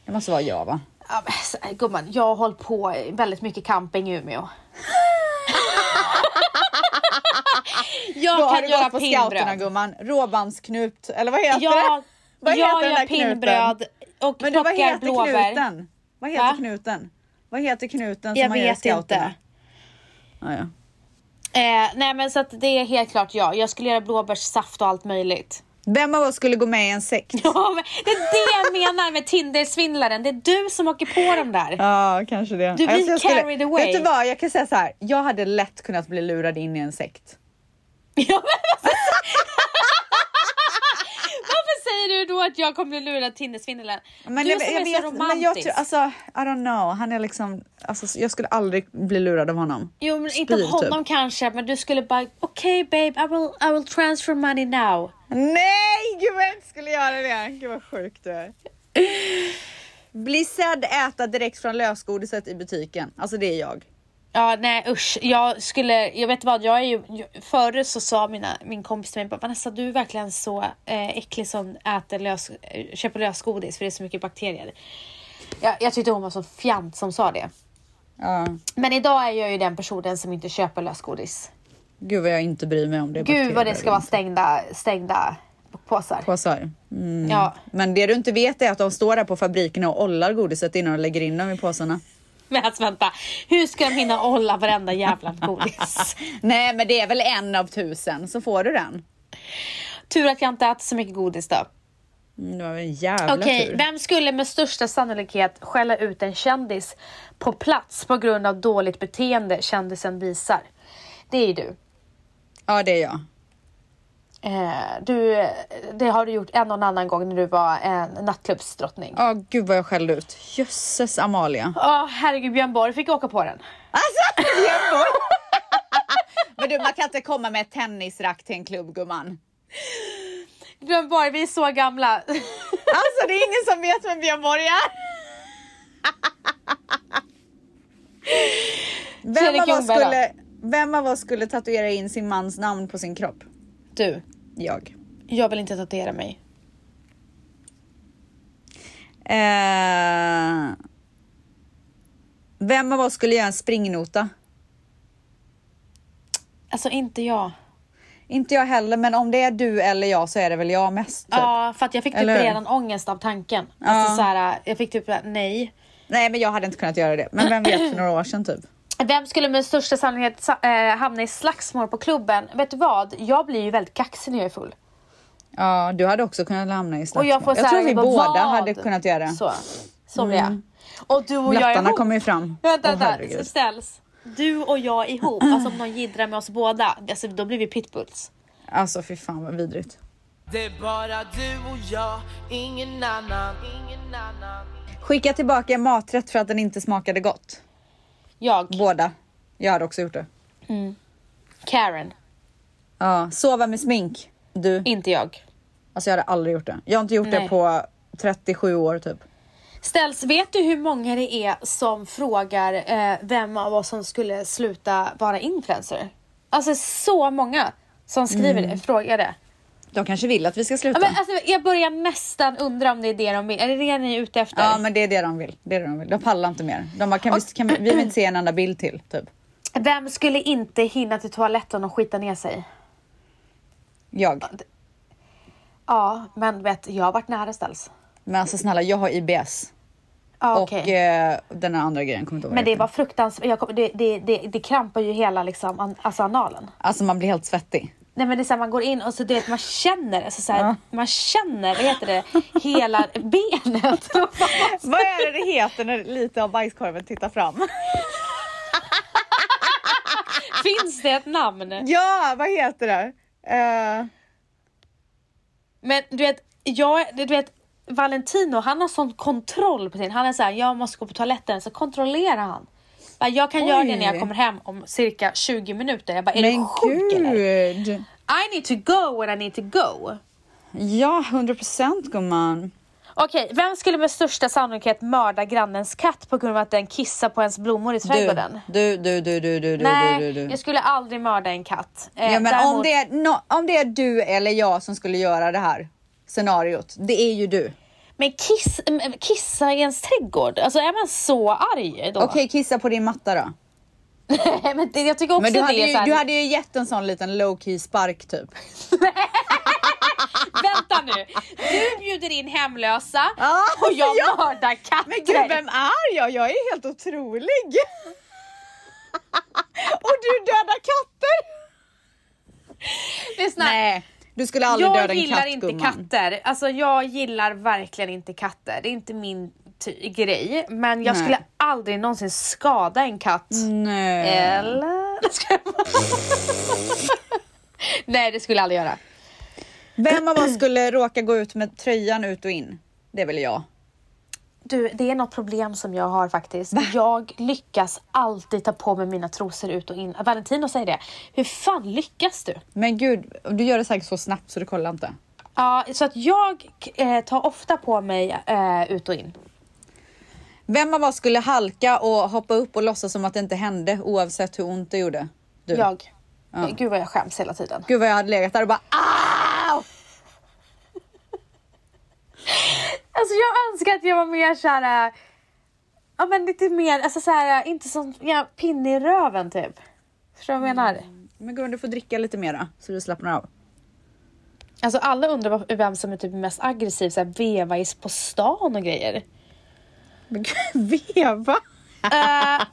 S1: Det måste vara jag va?
S2: Ja, men, så här, gumman, jag har hållit på väldigt mycket camping i Umeå. jag
S1: Då har
S2: kan
S1: du
S2: göra
S1: gått på
S2: pinnbröd.
S1: scouterna gumman. Råbandsknut eller vad heter
S2: Jag,
S1: det? Vad heter
S2: jag
S1: den
S2: gör
S1: där knuten?
S2: pinnbröd och
S1: Men du, vad
S2: plockar
S1: heter
S2: blåbär.
S1: knuten? Vad heter
S2: Va?
S1: knuten? Vad heter knuten som
S2: Jag
S1: man gör i
S2: vet
S1: scouterna?
S2: inte.
S1: Ah, ja.
S2: Eh, nej men så att det är helt klart jag. Jag skulle göra blåbärssaft och allt möjligt.
S1: Vem av oss skulle gå med i en sekt? Ja,
S2: Ja, men det är det jag menar med Tinder-svindlaren. Det är du som åker på dem där.
S1: kanske det.
S2: Du blir
S1: Alltså, jag
S2: carried away.
S1: Vet du vad, jag kan säga så här. Jag hade lätt kunnat bli lurad in i en sekt.
S2: Ja, men alltså- Varför säger du då att jag kommer bli lurad av Tinder-svindlaren? du som är så romantisk.
S1: men jag tror, alltså, I don't know. Han är liksom, alltså, jag skulle aldrig bli lurad av honom.
S2: jo, men inte av
S1: spyr, typ.
S2: honom kanske, men du skulle bara okej babe, I will, I will transfer money now.
S1: Nej, gud vad jag inte skulle göra det. Gud vad sjuk du är. Bli sedd äta direkt från lösgodiset i butiken. Alltså det är jag.
S2: Ja, nej usch. Jag skulle, jag vet vad, jag är ju, förr så sa mina, min kompis till mig, bara, Vanessa du är verkligen så eh, äcklig som äter lös, eh, köper lösgodis för det är så mycket bakterier. Jag, jag tyckte hon var så fjant som sa det.
S1: Ja.
S2: Men idag är jag ju den personen som inte köper lösgodis.
S1: Gud vad jag inte bryr mig om det. är
S2: Gud vad det
S1: bakterier.
S2: ska vara stängda, stängda påsar.
S1: Påsar. Mm.
S2: Ja,
S1: Men det du inte vet är att de står där på fabrikerna och ollar godiset innan de lägger in dem i påsarna.
S2: men alltså vänta. Hur ska de hinna olla varenda jävla godis?
S1: Nej, men det är väl en av tusen så får du den.
S2: Tur att jag inte äter så mycket godis då.
S1: Mm, Det var väl en jävla
S2: Okej,
S1: tur.
S2: vem skulle med största sannolikhet skälla ut en kändis på plats på grund av dåligt beteende kändisen visar? Det är ju du.
S1: Ja, det är jag.
S2: Eh, du. eh, Det har du gjort en och en annan gång när du var en nattklubbsdrottning.
S1: Ja, gud vad jag skällde ut. Jösses Amalia.
S2: Ja, herregud Björn Borg fick åka på den.
S1: Alltså, jag får... Men du, man kan inte komma med ett tennisrack till en klubb, gumman.
S2: Björn Borg, vi är så gamla.
S1: Alltså, det är ingen som vet vem Björn Borg är. Vem
S2: Fredrik
S1: av, oss
S2: Ljungberg,
S1: skulle, vem av oss skulle tatuera in sin mans namn på sin kropp?
S2: du,
S1: Jag.
S2: jag vill inte tatuera mig.
S1: Eh, vem av oss skulle göra en springnota?
S2: Alltså inte jag.
S1: Inte jag heller, men om det är du eller jag så är det väl jag mest. Typ.
S2: Ja, för att jag fick typ
S1: Eller hur?
S2: redan ångest av tanken. Alltså så här, jag fick typ nej.
S1: Nej, men jag hade inte kunnat göra det. Men vem vet, för några år sedan typ.
S2: Vem skulle med största sannolikhet sa- eh, hamna i slagsmål på klubben? Vet du vad? Jag blir ju väldigt kaxig när jag är full.
S1: Ja, du hade också kunnat hamna i
S2: Och
S1: slagsmål.
S2: jag, får så här,
S1: tror vi
S2: bara,
S1: båda
S2: vad?
S1: hade kunnat göra det.
S2: Så, så blir jag. Och du och jag
S1: Blattarna
S2: ihop.
S1: kommer ju fram.
S2: Vänta,
S1: Åh,
S2: vänta.
S1: herregud.
S2: ställs. Du och jag ihop. Alltså om någon jiddrar med oss båda. Alltså, då blir vi pitbulls.
S1: Alltså fy fan vad vidrigt.
S4: Det är bara du och jag, ingen annan, ingen annan.
S1: Skicka tillbaka en maträtt för att den inte smakade gott.
S2: Jag,
S1: Båda. Jag hade också gjort det.
S2: Karen,
S1: Ja, sova med smink. Du.
S2: inte jag.
S1: Alltså jag hade aldrig gjort det. Jag har inte gjort det
S2: Nej.
S1: på 37 år typ.
S2: Ställs, vet du hur många det är som frågar eh, vem av oss som skulle sluta vara influencer? Alltså så många som skriver
S1: Mm.
S2: det, frågar det.
S1: De kanske vill att vi ska sluta.
S2: Ja, men alltså, jag börjar nästan undra om det är det de vill. Är det det ni är ute efter?
S1: Ja men det är det de vill. Det är det de vill. De pallar inte mer. De bara, kan vi, kan vi, vi vill inte se en enda bild till typ.
S2: Vem skulle inte hinna till toaletten och skita ner sig?
S1: Jag.
S2: Ja, men vet, jag har varit nära ställs.
S1: Men alltså snälla jag har IBS.
S2: Ja,
S1: Och
S2: okej.
S1: eh, den här andra grejen kommer inte ihåg vad
S2: men det
S1: heter.
S2: var fruktansvärt. Jag kom, det, det, det, det krampar ju hela liksom, an, alltså analen.
S1: Alltså man blir helt svettig.
S2: Nej men det är så här, man går in och så du vet man känner, alltså så här, man känner, vad heter det, hela benet.
S1: Vad är det det heter när lite av bajskorven tittar fram?
S2: Finns det ett namn?
S1: Ja, vad heter det? Eh,
S2: Men du vet, jag, du vet Valentino han har sån kontroll på sin, han är så här, jag måste gå på toaletten, så kontrollerar han. Bara, Jag kan göra det när jag
S1: Oj.
S2: kommer hem om cirka 20 minuter. Jag bara, är
S1: men
S2: du sjuk eller?
S1: gud!
S2: I need to go when I need to go.
S1: Ja, 100 procent gumman.
S2: Okej, vem skulle med största sannolikhet mörda grannens katt på grund av att den kissar på ens blommor i
S1: Du,
S2: trädgården?
S1: du, du, du, du, du,
S2: Nej,
S1: du, du, du.
S2: jag skulle aldrig mörda en katt. Eh,
S1: Ja, men om,
S2: däremot-
S1: det är nå- om det är du eller jag som skulle göra det här scenariot, det är ju du.
S2: men kiss, m- kissa i ens trädgård, alltså är man så arg då?
S1: Okej, kissa på din matta då.
S2: men det, jag tycker också
S1: Men du hade,
S2: det är
S1: ju,
S2: så här-
S1: du hade ju gett en sån liten low key spark typ.
S2: Vänta nu, du bjuder in hemlösa
S1: Ja,
S2: och jag
S1: ja.
S2: mördar katter.
S1: är jag? Jag är helt otrolig. Och du dödar katter.
S2: Lyssna,
S1: Nej, du skulle aldrig
S2: jag
S1: döda en
S2: gillar
S1: katt
S2: inte
S1: gumman.
S2: katter. Alltså jag gillar verkligen inte katter. Det är inte min ty- grej. Men jag
S1: Nej. Mm.
S2: skulle aldrig någonsin skada en katt.
S1: Nej.
S2: Eh, Eller? Ska jag bara- Nej det skulle jag aldrig göra.
S1: Vem av oss skulle råka gå ut med tröjan ut och in? Det är väl jag.
S2: Du, det är något problem som jag har faktiskt. Jag lyckas alltid ta på mig mina trosor ut och in. Valentino säger det. Hur fan lyckas du?
S1: Men gud, du gör det säkert så snabbt så du kollar inte.
S2: Ja, så att jag eh, tar ofta på mig eh, ut och in.
S1: Vem av oss skulle halka och hoppa upp och låtsas som att det inte hände oavsett hur ont det gjorde? Du.
S2: Jag. Eh, Gud vad jag skäms hela tiden.
S1: Gud vad jag hade legat där och bara "Ah!" Au!
S2: Alltså jag önskar att jag var mer såhär, ja men lite mer, alltså såhär, inte sån ja, pinne i röven typ. Förstår du vad jag menar?
S1: Men gumman du får dricka lite mera så du slappnar av.
S2: Alltså alla undrar vad- vem som är typ mest aggressiv, såhär veva i- på stan och grejer.
S1: Men gud, veva!
S2: Eh,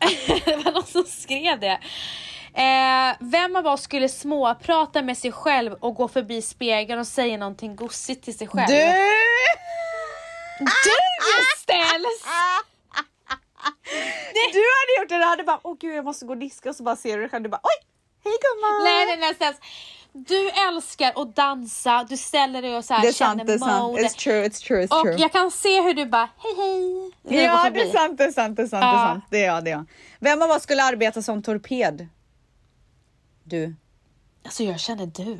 S2: det var någon som skrev det. Eh, vem av oss skulle småprata med sig själv och gå förbi spegeln och säga någonting gosigt till sig själv?
S1: Du!
S2: Du Ställs!
S1: Du hade gjort det, du hade bara åh gud jag måste gå och diska och så bara ser du dig själv du bara oj, hej gumman!
S2: Nej, nej, nej, Ställs. Du älskar att dansa, du ställer dig och så här
S1: det är
S2: känner
S1: sant, det är sant.
S2: mode.
S1: It's true, it's true, it's
S2: Och
S1: true.
S2: jag kan se hur du bara hej hej. när jag går
S1: Ja, det
S2: förbi.
S1: är sant, det är sant, det är sant, det
S2: Ja.
S1: är sant. Det är jag, det är jag. Vem av oss skulle arbeta som torped? Du.
S2: Alltså jag känner du.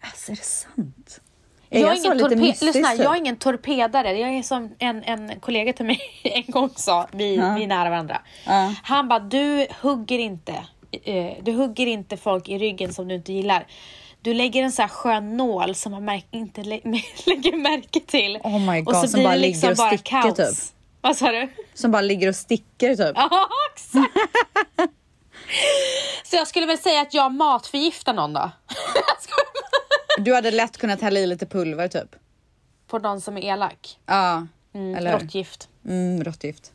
S1: Alltså är det sant?
S2: Jag, är
S1: så
S2: ingen
S1: lite
S2: torpe-
S1: mystisk,
S2: Lyssna,
S1: typ?
S2: jag är ingen torpedare. Jag är som en, en kollega till mig en gång sa, vi, vi är nära varandra.
S1: Ja.
S2: Han bara, du hugger inte. eh, Du hugger inte folk i ryggen som du inte gillar. Du lägger en så här skön nål som man märk- inte lä- lägger märke till.
S1: Oh my God,
S2: och så
S1: som
S2: blir
S1: bara
S2: det liksom
S1: ligger och
S2: bara
S1: sticker,
S2: kaos.
S1: typ.
S2: Vad sa du?
S1: Som bara ligger och sticker typ.
S2: Ja, exakt. så jag skulle väl säga att jag matförgiftar någon då. Jag skojar.
S1: Du hade lätt kunnat hälla i lite pulver typ.
S2: På någon som är elak. Mm,
S1: Ja, eller hur?
S2: Råttgift.
S1: Mm, råttgift.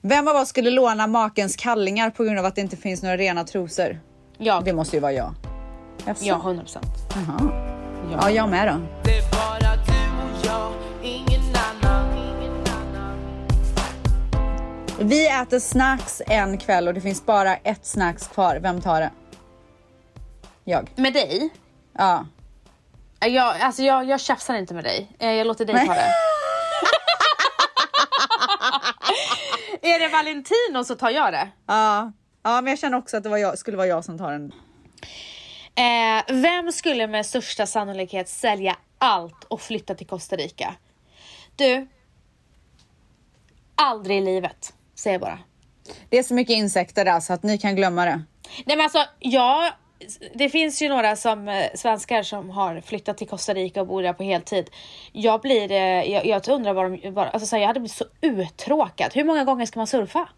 S1: Vem av oss skulle låna makens kallingar på grund av att det inte finns några rena trosor? Det
S2: Jag.
S1: måste ju vara jag. Jaså?
S2: Ja, 100 procent.
S1: Jaha. Ja, jag med då.
S4: Det är bara du och jag, ingen annan. Ingen annan.
S1: Vi äter snacks en kväll och det finns bara ett snacks kvar. Vem tar det? Jag.
S2: Med dig?
S1: Ja.
S2: Eh, Jag, alltså jag, jag tjafsar inte med dig. Eh, Jag låter dig
S1: Nej.
S2: ta det. är det Valentino så tar jag det.
S1: Ja. Ja, men jag känner också att det var jag, skulle vara jag som tar den.
S2: Eh, vem skulle med största sannolikhet sälja allt och flytta till Costa Rica? Du. Aldrig i livet, säger jag bara.
S1: Det är så mycket insekter där så att ni kan glömma det.
S2: Nej men alltså, ja, det finns ju några som, eh, svenskar som har flyttat till Costa Rica och bor där på heltid. Jag blir, eh, jag, jag undrar vad de, vad, alltså, så här, jag hade blivit så uttråkad. Hur många gånger ska man surfa?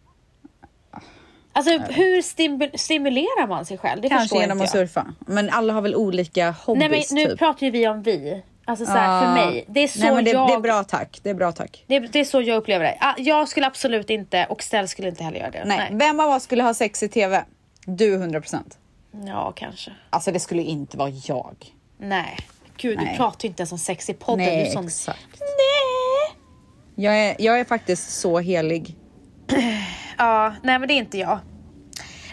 S2: Alltså hur stimu- stimulerar man sig själv? Det
S1: Kanske
S2: förstår
S1: genom
S2: inte
S1: att
S2: jag.
S1: surfa. Men alla har väl olika hobbys
S2: Nej men nu
S1: typ.
S2: pratar ju vi om vi. Alltså så här, för
S1: Ja.
S2: mig. Det är så
S1: Nej, men det,
S2: jag
S1: det är bra tack. Det är bra tack.
S2: Det, det är så jag upplever det. Ah, Jag skulle absolut inte och Stell skulle inte heller göra det.
S1: Nej. Vem av oss skulle ha sex i tv? Du 100%.
S2: Ja, kanske.
S1: Alltså det skulle inte vara jag.
S2: Nej. Gud, du
S1: Nej.
S2: pratar ju inte ens om sex i podden.
S1: Nej,
S2: du är sån...
S1: exakt.
S2: Nej.
S1: Jag är, jag är faktiskt så helig.
S2: Ja, nej men det är inte jag.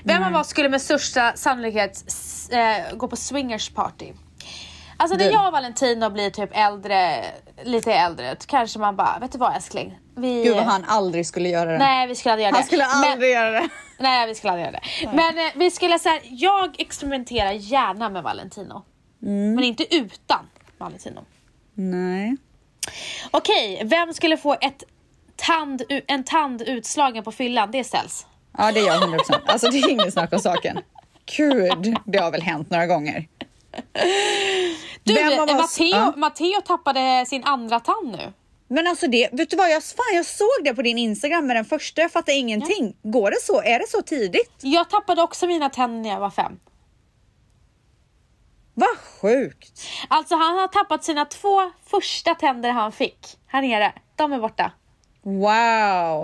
S2: Vem av oss skulle med största sannolikhet s- eh, gå på swingers party? Alltså när
S1: Du.
S2: jag och Valentino blir typ äldre, lite äldre, då kanske man bara, vet du vad älskling? Vi...
S1: Gud vad han aldrig skulle göra det.
S2: Nej vi skulle aldrig göra
S1: han
S2: det.
S1: skulle aldrig göra det.
S2: Men, nej vi skulle aldrig göra det. Men eh, vi skulle säga, jag experimenterar gärna med Valentino.
S1: Mm.
S2: Men inte utan Valentino.
S1: Nej.
S2: Okej, vem skulle få ett tand, en tand utslagen på fyllan? Det ställs.
S1: Ja det är jag 100%. Alltså det är inget snack om saken. Gud, det har väl hänt några gånger.
S2: Du,
S1: Vem av
S2: eh,
S1: oss-
S2: Matteo,
S1: ja.
S2: Matteo tappade sin andra tand nu.
S1: Men alltså det, vet du vad? Jag, fan, jag såg det på din Instagram med den första, jag fattar ingenting. Går det så? Är det så tidigt?
S2: Jag tappade också mina tänder när jag var fem.
S1: Vad sjukt.
S2: Alltså han har tappat sina två första tänder han fick här nere. De är borta.
S1: Wow,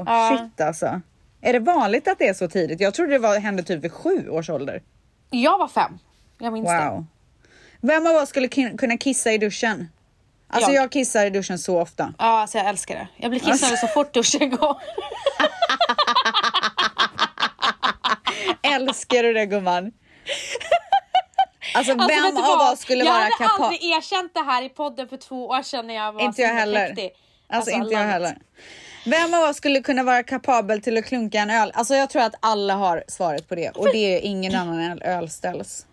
S2: Ja.
S1: shit alltså. Är det vanligt att det är så tidigt? Jag trodde det var, hände typ vid sju års ålder.
S2: Jag var fem. Jag minns det.
S1: Wow. Vem av oss skulle kin- kunna kissa i duschen? Alltså
S2: Jag.
S1: jag kissar i duschen så ofta.
S2: Ja, alltså jag älskar det. Jag blir kissnödig
S1: Alltså,
S2: så fort duschen går. Alltså,
S1: Älskar du det gumman? Alltså,
S2: Alltså, vet
S1: vem
S2: du
S1: av
S2: vad?
S1: oss skulle
S2: jag
S1: vara
S2: hade
S1: kapabel?
S2: aldrig erkänt det här i podden för två år sedan när jag var
S1: Inte jag
S2: så
S1: heller.
S2: mäktig.
S1: Alltså, inte jag
S2: I love it.
S1: heller. Vem av oss skulle kunna vara kapabel till att klunka en öl? Alltså jag tror att alla har svaret på det och det är ingen annan än ölställs.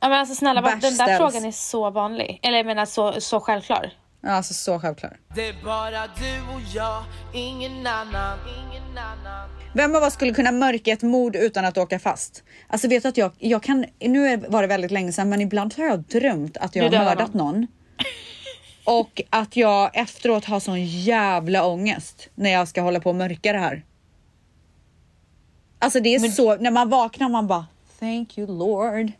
S2: Ja, men alltså snälla,
S1: Bärs
S2: den där
S1: ställs.
S2: frågan är så vanlig. Eller jag menar så, så självklar.
S1: Ja, Alltså så självklart.
S4: Det är bara du och jag, ingen annan. Ingen ingen annan
S1: Vem av oss skulle kunna mörka ett mord utan att åka fast? Alltså vet du att jag, jag kan, nu är- var det väldigt länge sedan men ibland har jag drömt att jag
S2: Du
S1: har
S2: dödar
S1: mördat någon. Och att jag efteråt har sån jävla ångest när jag ska hålla på och mörka det här. Alltså det är så, när man vaknar man bara Thank you Lord.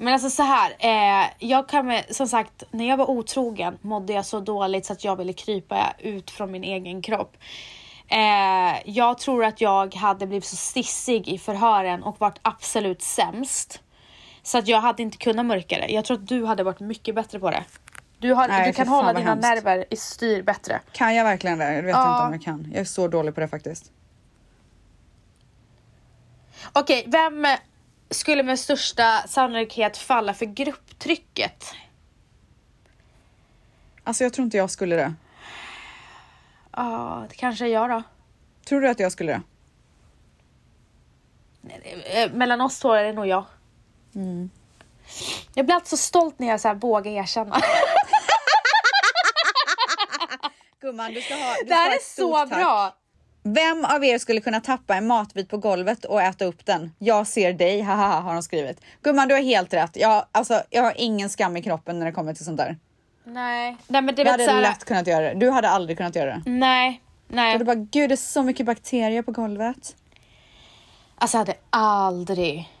S2: Men alltså så här, eh, jag kan med, som sagt, när jag var otrogen mådde jag så dåligt så att jag ville krypa ut från min egen kropp. Eh, jag tror att jag hade blivit så stissig i förhören och varit absolut sämst. Så att jag hade inte kunnat mörka det. Jag tror att du hade varit mycket bättre på det. Du, har,
S1: Nej,
S2: du
S1: fy
S2: kan
S1: fan
S2: hålla
S1: vad
S2: dina
S1: hemskt.
S2: nerver i styr bättre.
S1: Kan jag verkligen det? Jag vet
S2: Ja.
S1: inte om jag kan. Jag är så dålig på det faktiskt.
S2: Okej, vem skulle med största sannolikhet falla för grupptrycket?
S1: Alltså jag tror inte jag skulle det.
S2: Ja, det kanske är jag då.
S1: Tror du att jag skulle det?
S2: Eh, mellan oss två är det nog jag.
S1: Mm.
S2: Jag blir alltid så stolt när jag så här vågar erkänna.
S1: Gumman du ska ha, du
S2: Det här är så bra!
S1: Vem av er skulle kunna tappa en matbit på golvet och äta upp den? Jag ser dig, haha har de skrivit. Gumman, du har helt rätt. Jag, alltså, jag har ingen skam i kroppen när det kommer till sånt där.
S2: Nej, nej men det
S1: Jag
S2: vet
S1: hade
S2: så här,
S1: lätt kunnat göra det. Du hade aldrig kunnat göra det.
S2: Nej,
S1: Jag
S2: nej.
S1: hade bara, gud det är så mycket bakterier på golvet.
S2: Alltså jag hade aldrig...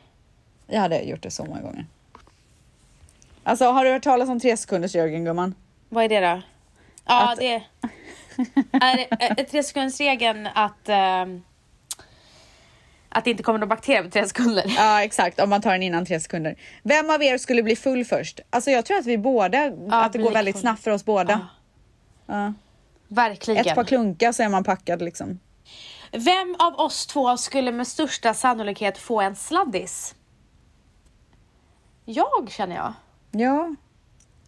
S1: Jag hade gjort det så många gånger. Alltså har du hört talas om tre sekunders Jörgen gumman?
S2: Vad är det då? Ja,
S1: Att-
S2: det... Är det- är tre sekundersregeln att... ehm, att det inte kommer några bakterier på tre sekunder?
S1: Ja exakt, om man tar den innan tre sekunder. Vem av er skulle bli full först? Alltså jag tror att vi båda, att det
S2: bli
S1: går väldigt
S2: full.
S1: snabbt för oss båda. Ja.
S2: Verkligen.
S1: Ett par klunkar så är man packad liksom.
S2: Vem av oss två skulle med största sannolikhet få en sladdis? Jag känner jag.
S1: Ja,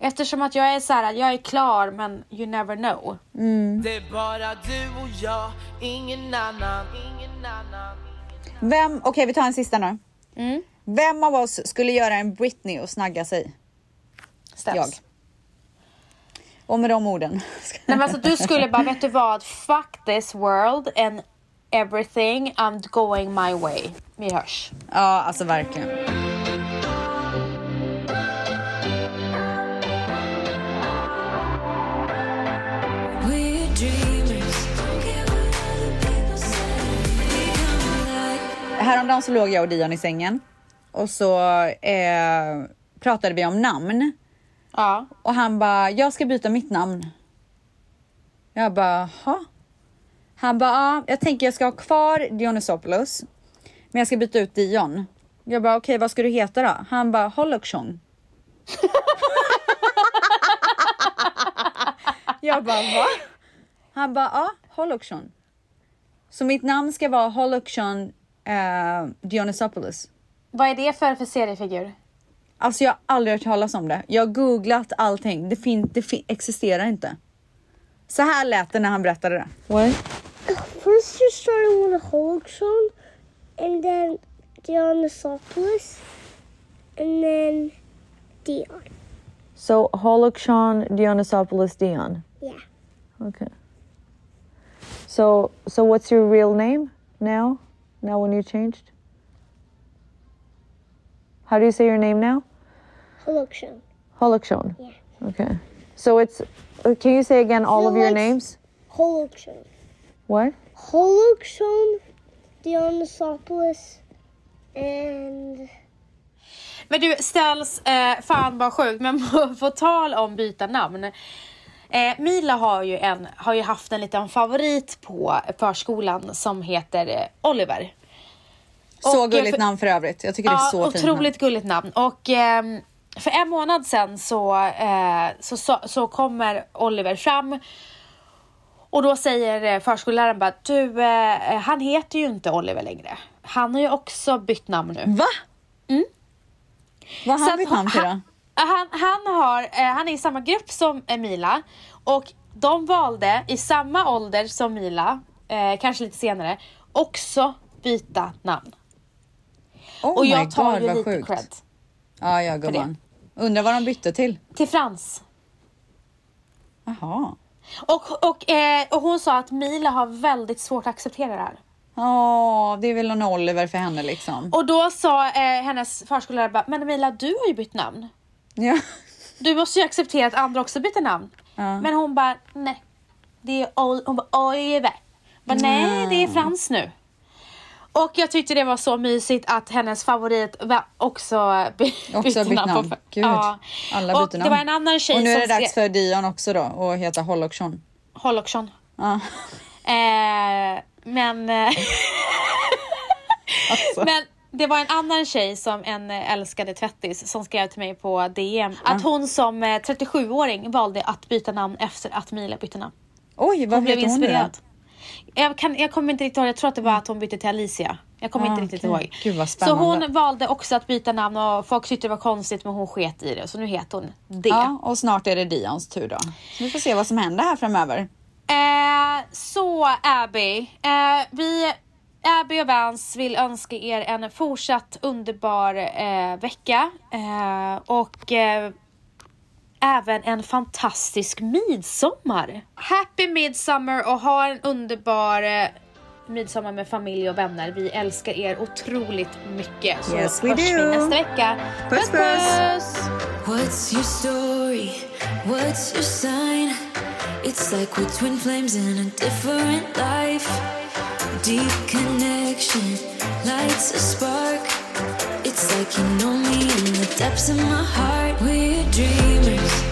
S2: Eftersom att jag är så här, jag är klar men you never know.
S4: Det är bara du och jag, ingen annan Ingen annan
S1: Vem, okej vi tar en sista nu.
S2: Mm.
S1: Vem av oss skulle göra en Britney och snagga sig?
S2: Stäms.
S1: Jag. Och med de orden.
S2: Nej men alltså du skulle bara, vet du vad? Fuck this world and everything. I'm going my way. Vi hörs.
S1: ja, alltså verkligen.
S3: We're dreamers. Don't care what other people say. We come alive.
S1: Häromdagen så låg jag och Dion i sängen och så eh, pratade vi om namn
S2: Ja.
S1: och han bara, jag ska byta mitt namn. Jag bara, jaha? Han bara, ja, jag tänker jag ska ha kvar Dionysopoulos, men jag ska byta ut Dion. Jag bara, okej, vad ska du heta då? Han bara, Holochong. jag bara, va? Han bara, ja, Holochong. Så mitt namn ska vara Holochong eh, Dionysopoulos.
S2: Vad är det för, för seriefigur?
S1: Alltså jag har aldrig hört talas om det. Jag har googlat allting. Det, fin- det fin- existerar inte. Så här lät det när han berättade det.
S5: First you started with a Holxon, and then Dionysopoulos, and then Dion.
S6: So Holochon Dionysopoulos Dion.
S5: Yeah.
S6: Okay. So so what's your real name now? Now when you changed? How do you say your name now?
S5: Holxon.
S6: Holochon.
S5: Yeah.
S6: Okay. So it's uh, can you say again all
S5: So
S6: of your
S5: it's-
S6: names?
S5: Holxon.
S6: What?
S5: Holxon, Dionysopoulos, and
S2: Men du ställs, eh, fan vad sjukt, men på tal om byta namn. Eh, Mila har ju, en, har ju haft en liten favorit på förskolan som heter eh, Oliver.
S1: Så
S2: Och,
S1: gulligt
S2: eh, för-
S1: namn för övrigt. Jag tycker det är så fint namn.
S2: otroligt gulligt namn. Och ehm, för en månad sedan så, eh, så, så, så kommer Oliver fram och då säger eh, förskolläraren bara, du, eh, han heter ju inte Oliver längre. Han har ju också bytt namn nu.
S1: Va? Vad har Mm. han
S2: Så att
S1: bytt namn till då?
S2: han, Eh, han, han, har, eh, han är i samma grupp som eh, Mila och de valde i samma ålder som Mila, eh, kanske lite senare, också byta namn.
S1: Oh
S2: och
S1: my
S2: jag tar
S1: God,
S2: ju
S1: vad
S2: lite
S1: sjukt.
S2: cred.
S1: Ja, ja gumman. Undrar vad de bytte till.
S2: Till Frans.
S1: Jaha.
S2: Och, och, eh, och hon sa att Mila har väldigt svårt att acceptera det här.
S1: Ja, det är väl en Oliver för henne liksom.
S2: Och då sa eh, hennes förskollärare bara, men Emilia du har ju bytt namn.
S1: Ja.
S2: Du måste ju acceptera att andra också byter namn. Men hon bara, nej. Det är Ol- hon bara, Oliver. Jag
S1: Mm.
S2: Bara, nej, det är Frans nu. Och jag tyckte det var så mysigt att hennes favorit var också by-
S1: Också bytt namn.
S2: på-
S1: Gud,
S2: Ja.
S1: alla
S2: och
S1: byter namn.
S2: Det var en annan tjej
S1: Och nu är det
S2: som
S1: dags för Dion också då och heta Holloksson.
S2: Holloksson.
S1: Ja.
S2: Eh, men... eh,
S1: Alltså.
S2: Men det var en annan tjej som en eh, älskade tvättis som skrev till mig på DM att hon som eh, 37-åring valde att byta namn efter att Mila bytte namn.
S1: Oj, vad
S2: Hon blev
S1: heter hon nu då?
S2: inspirerad. Jag, kan, jag kommer inte riktigt ihåg, jag tror att det var att hon bytte till Alicia. Jag kommer
S1: Ah,
S2: inte riktigt
S1: okej.
S2: ihåg.
S1: Gud, vad
S2: så
S1: spännande.
S2: hon valde också att byta namn och folk tyckte det var konstigt men hon sket i det så nu heter hon det.
S1: Ja, och snart är det Dions tur då. Så vi får se vad som händer här framöver.
S2: Eh, så Abby, eh, vi Abby och Vans vill önska er en fortsatt underbar eh, vecka eh, och eh, även en fantastisk midsommar. Happy midsommar och ha en underbar eh, midsommar med familj och vänner. Vi älskar er otroligt mycket. Så
S1: Yes, we
S2: hörs vi
S1: do.
S2: nästa vecka.
S1: Puss, puss.
S2: puss.
S3: What's your story? What's your sign? It's like we're twin flames in a different life. Deep connection lights a spark. It's like you know me in the depths of my heart. We're dreamers,